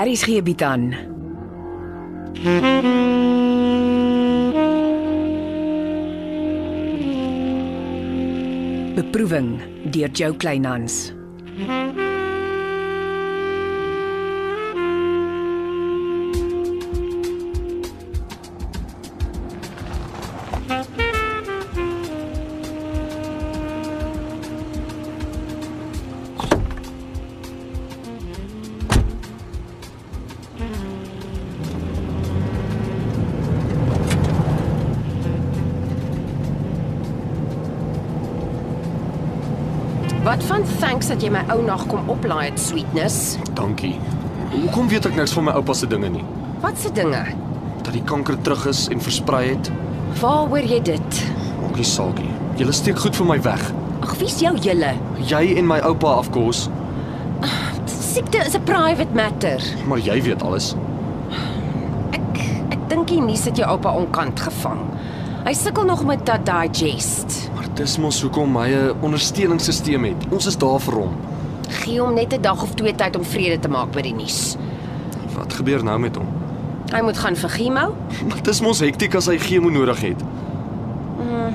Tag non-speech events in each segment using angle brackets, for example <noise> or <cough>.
Aries gee bied aan. Beproeving deur Jo Kleinhans. Wat van thanks dat jy my ou nag kom oplaai het, sweetness. Dankie. Hoekom weet ek niks van my oupa se dinge nie? Wat se dinge? Dat die kanker terug is en versprei het. Waaroor jy dit? Maak nie saak nie. Julle steek goed vir my weg. Ag, wie's jou julle? Jy en my oupa afkos, Siekte is 'n private matter. maar jy weet alles. Ek ek dink die nuus het jou oupa onkant gevang. Hy sukkel nog met dat digest. Maar dis mos hoekom hy 'n ondersteuningssisteem het. Ons is daar vir hom. Gee hom net 'n dag of twee tyd om vrede te maak met die nuus. Wat gebeur nou met hom? <laughs> Hy moet gaan vir chemo. Maar dis mos hektiek as hy chemo nodig het.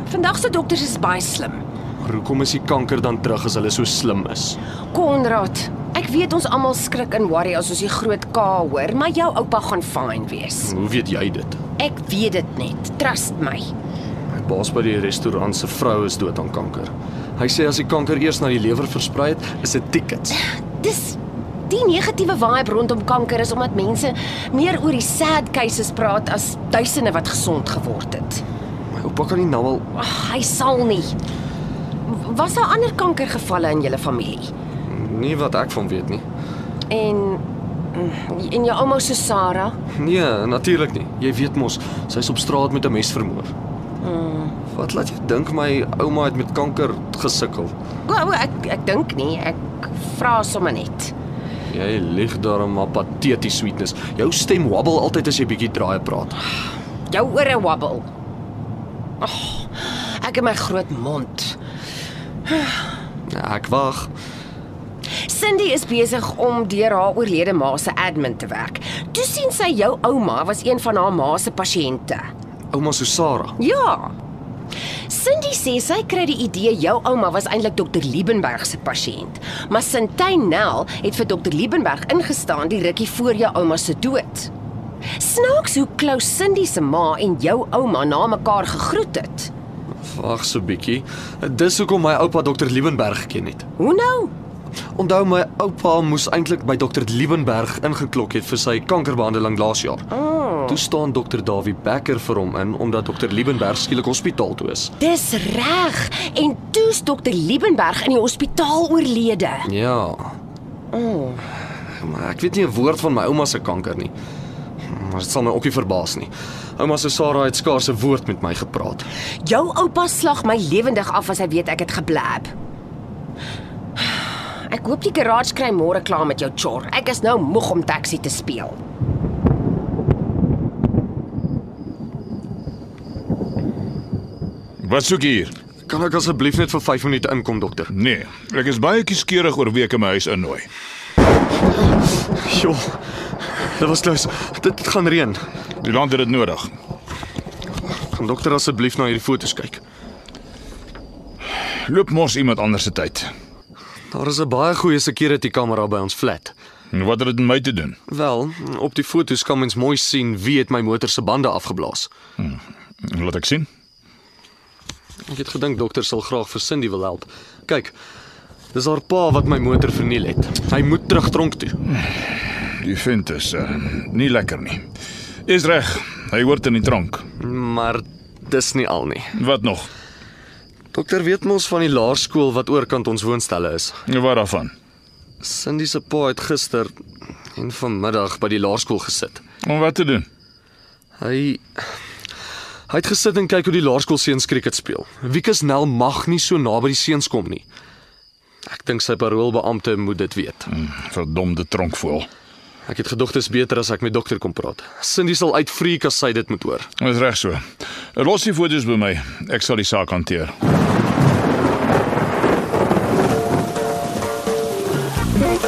Vandag se dokters is baie slim. Maar hoekom is die kanker dan terug as hulle so slim is? Konrad, ek weet ons almal skrik en worry as ons die groot K hoor, maar jou oupa gaan fyn wees. Hoe weet jy dit? Ek weet dit net. Trust my. My baas by die restaurant se vrou is dood aan kanker. Hy sê as die kanker eers na die lewer versprei het, is dit tickets. Dis die negatiewe vibe rondom kanker is omdat mense meer oor die sad cases praat as duisende wat gesond geword het. My oupa kan nie nou al Ag, hy sal nie. Was daar ander kankergevalle in julle familie? nie wat ek van weet nie. En mm, en jou ouma se Sarah? Nee, natuurlik nie. Jy weet mos, sy's op straat met 'n mes vermoor. Mm. Wat laat jou dink my ouma het met kanker gesukkel? O, o, ek ek dink nie. Ek vra sommer net. Jy lieg daarom maar pateties sweetness. Jou stem wobble altyd as jy bietjie draaie praat. Jou ore wobble. Ag, ek het my groot mond. Ja, ek wag. Cindy is besig om deur haar oorlede ma se admin te werk. Toe sien sy jou ouma was een van haar ma se pasiënte. Ouma Susara. Ja. Cindy sê sy kry die idee jou ouma was eintlik dokter Liebenberg se pasiënt, maar Sintyn Nel het vir dokter Liebenberg ingestaan die rukkie voor jou ouma se dood. Snaaks hoe klou Cindy se ma en jou ouma na mekaar gegroet het. Wag so bietjie. Dis hoekom my oupa dokter Liebenberg geken het. Hoe nou? Onthou my oupa moes eintlik by dokter Liebenberg ingeklok het vir sy kankerbehandeling laas jaar. Oh, Toe staan dokter Dawie Becker vir hom in omdat dokter Liebenberg skielik hospitaal toe is. dis reg. En toe's dokter Liebenberg in die hospitaal oorlede. Ja. O, oh, Maar ek weet nie 'n woord van my ouma se kanker nie. Maar dit sal my ook nie verbaas nie. Ouma se Sarah het skaars 'n woord met my gepraat. jou oupa slag my lewendig af as hy weet ek het geblab. Ek hoop die garage kry môre klaar met jou chor. Ek is nou moeg om taxi te speel. Wat soek hier? Kan ek asseblief net vir 5 minute inkom, dokter? Nee, ek is baie kieskeurig oor wie ek in my huis innooi. Jo. Dit was klous. Dit gaan reën. Die land het dit nodig. Kan dokter asseblief na hierdie foto's kyk? Loop mos iemand anders se tyd. Daar is 'n baie goeie security kamera by ons flat. En wat het dit met my te doen? Wel, op die foto's kan mens mooi sien wie het my motor se bande afgeblaas. Laat ek sien. Ek het gedink dokter sal graag vir Cindy wil help. Kyk. Dis haar pa wat my motor verniel het. Hy moet terug tronk toe. Die vent is uh, nie lekker nie. Is reg. Hy hoort in die tronk. Maar dis nie al nie. Wat nog? Dokter weet mos van die laerskool wat oorkant ons woonstelle is. Wat daarvan? Cindy se pa het gister en vanmiddag by die laerskool gesit. Om wat te doen? Hy hy het gesit en kyk hoe die laerskool seuns krieket speel. Wiekus Nel mag nie so naby die seuns kom nie. Ek dink sy paroolbeampte moet dit weet. Hm, Verdomde tronkvoël. Ek het gedog dit is beter as ek met dokter kom praat. Cindy sal uitfreek as sy dit moet hoor. Is reg so. Los die foto's by my. Ek sal die saak hanteer. <laughs>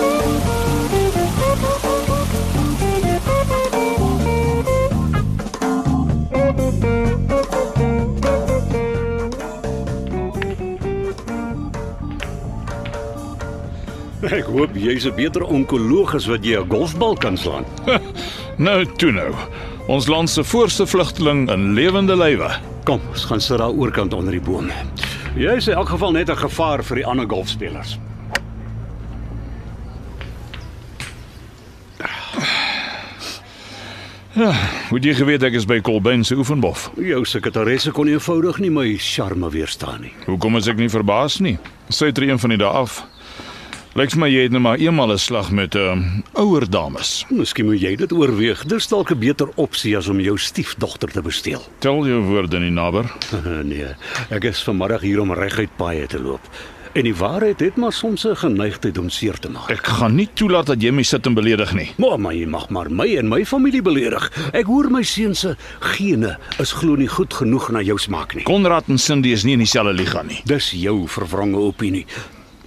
Ek hoop jy's 'n beter onkoloog as wat jy 'n golfbal kan slaan. Nou toe nou. Ons land se voorste vlugteling in lewende lywe. Kom, ons gaan sit daar oorkant onder die boom. Jy's in elk geval net 'n gevaar vir die ander golfspelers. Moet jy geweet ek is by Colbein se oefenbof. Jou sekretaresse kon eenvoudig nie my charme weerstaan nie. Hoekom is ek nie verbaas nie? Sy tree een van die dae af. Lyk vir my jy het nou maar eenmal 'n slag met 'n um, ouer dames. Miskien moet jy dit oorweeg. Dis dalk 'n beter opsie as om jou stiefdogter te besteel. <laughs> Tel jou woorde nie naber. nee, ek is vanmiddag hier om reguit paaie te loop. En die waarheid het maar soms 'n geneigtheid om seer te maak. Ek gaan nie toelaat dat jy my sit en beledig nie. Maar maar jy mag maar my en my familie beledig. Ek hoor my seun se gene is glo nie goed genoeg na jou smaak nie. Konrad en Cindy is nie in dieselfde liga nie. Dis jou verwronge opinie.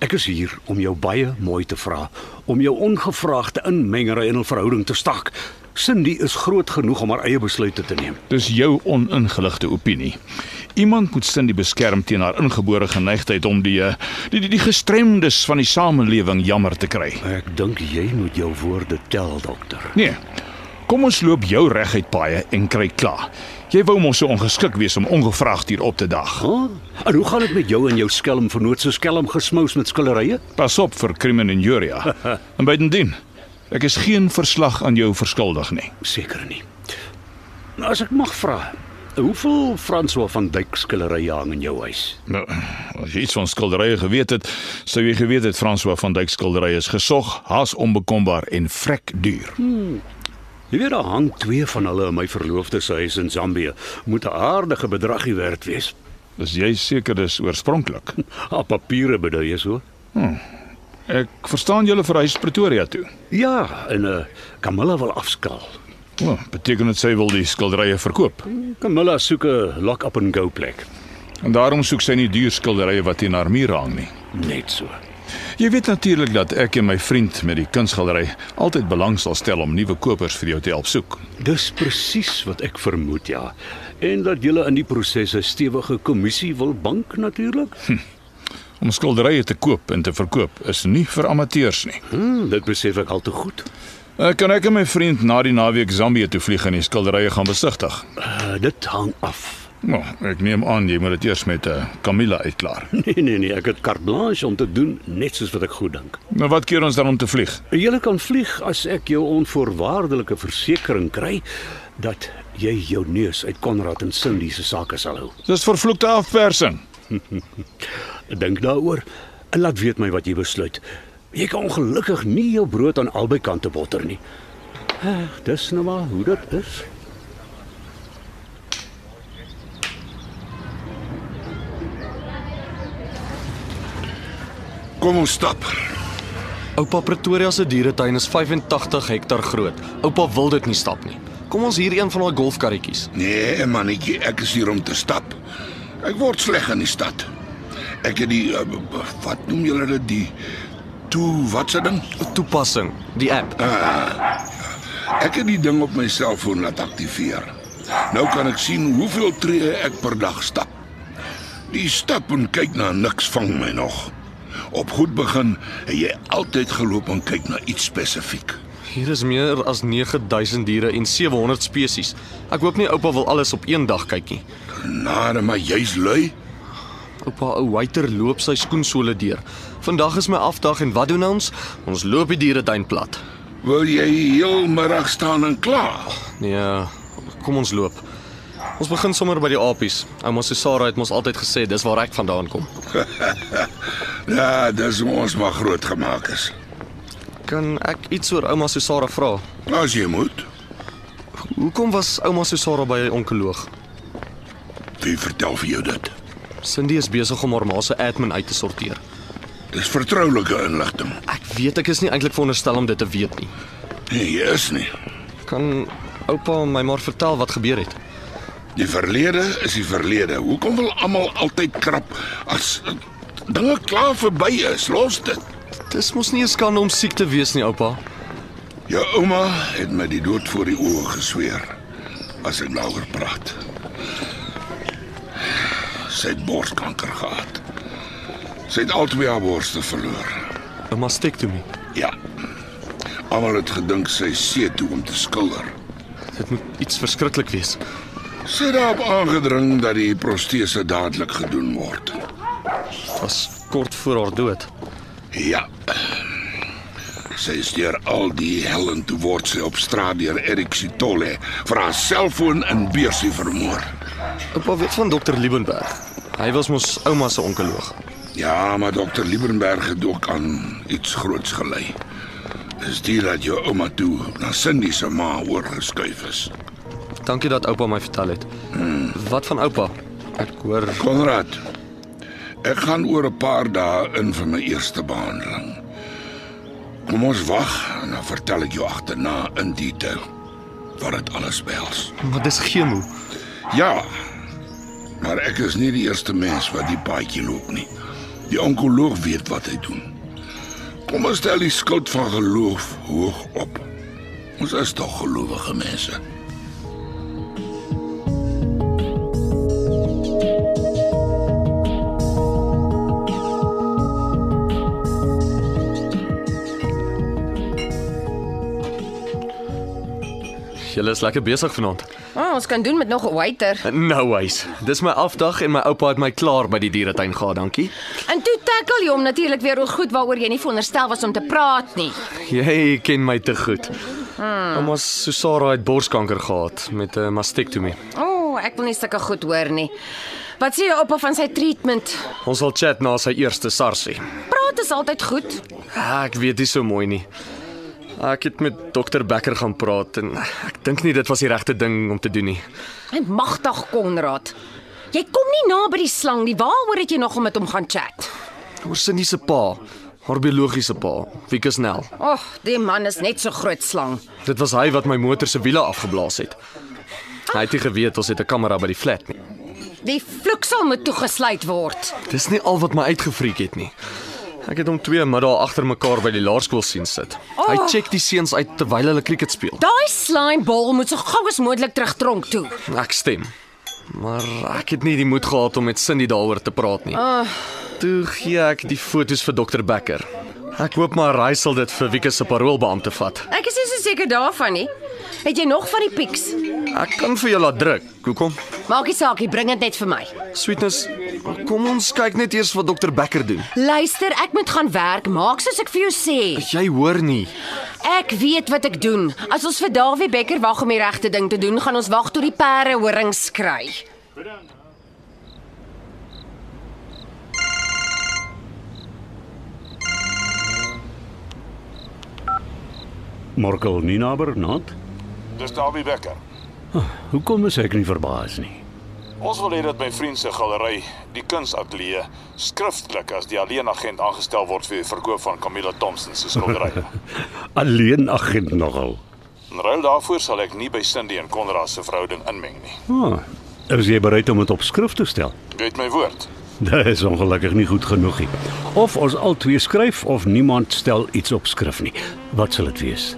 Ek is hier om jou baie mooi te vra, om jou ongevraagde inmengery in 'n verhouding te staak. Cindy is groot genoeg om haar eie besluite te neem. Dis jou oningeligte opinie. Iemand moet Cindy beskerm teen haar ingebore geneigtheid om die eh, die die, die gestremdes van die samelewing jammer te kry. Ek dink jy moet jou woorde tel, dokter. Nee. Kom ons loop jou reguit paaie en kry klaar. Jy wou mos so ongeskik wees om ongevraagd hier op te dag. Huh? Ah, En hoe gaan dit met jou en jou skelm vernoot so skelm gesmous met skillerye? Pas op vir krimen en juria. En bydendien, ek is geen verslag aan jou verskuldig nie. Seker nie. Maar as ek mag vra, hoeveel François van Dyk skillerye hang in jou huis? Nou, as jy iets van skilderye geweet het, sou jy geweet het François van Dyk skilderye is gesog, haas onbekombaar en vrek duur. Jy weet daar hang twee van hulle in my verloofde se huis in Zambië. Moet 'n aardige bedragie werd wees. Is jy seker dis oorspronklik? Op papiere bedoel jy so? Ek verstaan julle verhuis Pretoria toe. Ja, en eh uh, Camilla wil afskaal. O, beteken dit sy wil die skilderye verkoop? Camilla soek 'n lock-up and go plek. En daarom soek sy nie duur skilderye wat teen haar muur hang nie. Net so. Jy weet natuurlik dat ek en my vriend met die kunsgalery altyd belang sal stel om nuwe kopers vir jou te help soek. Dis presies wat ek vermoed, ja. En dat julle in die proses 'n stewige kommissie wil bank natuurlik. Om skilderye te koop en te verkoop is nie vir amateurs nie. Hm, dit besef ek al te goed. Ek kan ek en my vriend na die naweek Zambië toe vlieg en die skilderye gaan besigtig. Uh, dit hang af. Nou, ek neem aan jy moet dit eers met 'n uh, Camilla uitklaar. <laughs> Nee nee nee, ek het carte blanche om te doen net soos wat ek goed dink. Nou wat keer ons dan om te vlieg? Julle kan vlieg as ek jou onvoorwaardelike versekering kry dat jy jou neus uit Konrad en Cindy se sake sal hou. Dis vervloekte afpersing. Dink daaroor en laat weet my wat jy besluit. Jy kan ongelukkig nie jou brood aan albei kante botter nie. Ag, dis nou maar hoe dit is. Kom ons stap. Oupa Pretoria se dieretuin is 85 hektar groot. Oupa wil dit nie stap nie. Kom ons hier een van daai golfkarretjies. Nee, mannetjie, ek is hier om te stap. Ek word sleg in die stad. Ek het die uh, wat noem julle dit die toe wat se ding? Toepassing, die app. Ek het die ding op my selfoon laat aktiveer. Nou kan ek sien hoeveel tree ek per dag stap. Die stap en kyk na niks vang my nog. Op goed begin het jy altyd geloop en kyk na iets spesifiek. Hier is meer as 9000 diere en 700 spesies. Ek hoop nie oupa wil alles op een dag kyk nie. Nare maar jy's lui. Oupa, ou Whiter loop sy skoensole deur. Vandag is my afdag en wat doen ons? Ons loop die dieretuin plat. Wil jy heel middag staan en kla? Nee, kom ons loop. Ons begin sommer by die apies. Ouma Susara het mos altyd gesê dis waar ek vandaan kom. Ja, dis hoe ons maar groot gemaak is. Kan ek iets oor ouma Susara vra? Ja, As jy moet, Hoekom was ouma Susara by 'n onkoloog? wie vertel vir jou dit? Cindy is besig om haar ma se admin uit te sorteer. Dis vertroulike inligting. Ek weet ek is nie eintlik veronderstel om dit te weet nie. Nee, jy is nie. Kan oupa my maar vertel wat gebeur het? Die verlede is die verlede. Hoekom wil almal altyd krap as eh, dinge klaar verby is? Los dit. Dis mos nie 'n skande om siek te wees nie, oupa. Jou Ja, ouma het my die dood voor die oë gesweer as ek daaroor praat. Sy het borskanker gehad. Sy het albei haar borste verloor. 'n mastektomie. Ja. Almal het gedink sy see toe om te skilder. Dit moet iets verskriklik wees. Sy het daarop aangedring dat die protese dadelik gedoen word. Dit was kort voor haar dood. Ja. Sy is deur al die hel en toe word sy op straat deur Erik Sitolle vir haar selfoon in beursie vermoor. Oupa weet van dokter Liebenberg. Hy was mos ouma se onkoloog. Ja, maar dokter Liebenberg het ook aan iets groots gelei. Dis dit dat jou ouma toe na Cindy se ma oorgeskuif is. Dankie dat oupa my vertel het. Wat van oupa? Ek hoor Konrad, ek gaan oor 'n paar dae in vir my eerste behandeling. Kom ons wag en dan vertel ek jou agterna in detail wat dit alles behels. maar dis chemo. Ja. Maar ek is nie die eerste mens wat die paadjie loop nie. Die onkoloog weet wat hy doen. Kom ons stel die skuld van geloof hoog op. Ons is tog gelowige mense. Julle is lekker besig vanaand. Oh, ons kan doen met nog 'n waiter. Nou wys. Dis my afdag en my oupa het my klaar by die dieretuin gehad, dankie. En toe tackle jy hom natuurlik weer oor goed waaroor jy nie veronderstel was om te praat nie. Jy ken my te goed. Ouma Susara het borskanker gehad met 'n mastektomie. O, oh, ek wil nie sulke goed hoor nie. Wat sê jy op van sy treatment? Ons sal chat na sy eerste sarsie. Praat is altyd goed. Ah, ek weet nie so mooi nie. Ek het met dokter Becker gaan praat en ek dink nie dit was die regte ding om te doen nie. Hy magtig Konrad. Jy kom nie naby die slang nie. Waaroor het jy nog om met hom gaan chat? Oor Cindy se pa, haar biologiese pa, Wikus Nel. Ag, oh, die man is net so groot slang. Dit was hy wat my motor se wiele afgeblaas het. Hy het nie geweet ons het 'n kamera by die flat nie. Die vloeksel moet toegesluit word. Dis nie al wat my uitgefreek het nie. Ek het hom twee middae agter mekaar by die laerskool sien sit. Oh. Hy check die seuns uit terwyl hulle krieket speel. Daai slimebol moet so gou as moontlik terugtronk toe. Ek stem. Maar ek het nie die moed gehad om met Cindy daaroor te praat nie. Oh. Toe gee ek die foto's vir dokter Becker. Ek hoop maar hy sal dit vir Wieke se paroolbeampte vat. Ek is nie so seker daarvan nie. Het jy nog van die pieks? Ek kan vir jou laat druk. Hoekom? Maak nie saak nie, bring dit net vir my. Sweetness, kom ons kyk net eers wat dokter Becker doen. Luister, ek moet gaan werk. Maak soos ek vir jou sê. Jy hoor nie. Ek weet wat ek doen. As ons vir Dawie Becker wag om die regte ding te doen, gaan ons wag tot die perde horings kry. Morkel Nina Bernard. Dis Dawie Becker. Hoekom is ek nie verbaas nie? Ons wil hê dat my vriend se galery, die kunsateljee, skriftelik as die alleenagent aangestel word vir die verkoop van Camilla Thompson se skildery. <laughs> <laughs> Alleen agent nogal. In ruil daarvoor sal ek nie by Cindy en Konrad se verhouding inmeng nie. Ah, is jy bereid om dit op skrift te stel? <laughs> Weet my woord. Dit is ongelukkig nie goed genoeg nie. Of ons al twee skryf of niemand stel iets op skrif nie. Wat sal dit wees?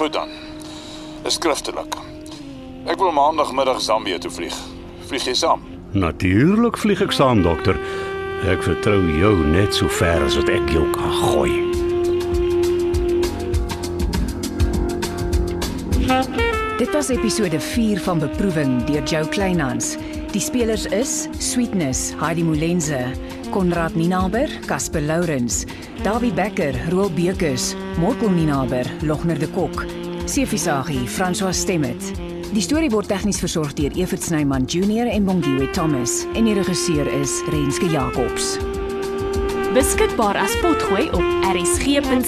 Goed dan. Dis skriftelik. Ek wil maandagmiddag Zambië toe vlieg. Vlieg jy saam? Natuurlik vlieg ek saam, dokter. Ek vertrou jou net so ver as wat ek jou kan gooi. Dit was episode 4 van Beproewing deur Jo Kleinhans. Die spelers is Sweetness, Heidi Molenze, Konrad Ninaber, Casper Lourens, Dawie Becker, Roel Bekus, Morkel Ninaber, Logner de Kok, Sefisagi, François Stemmet. Die storie word tegnies versorg deur Evert Snyman Junior en Bongwe Thomas en die regisseur is Renske Jacobs. beskikbaar as potgooi op rsg.co.za.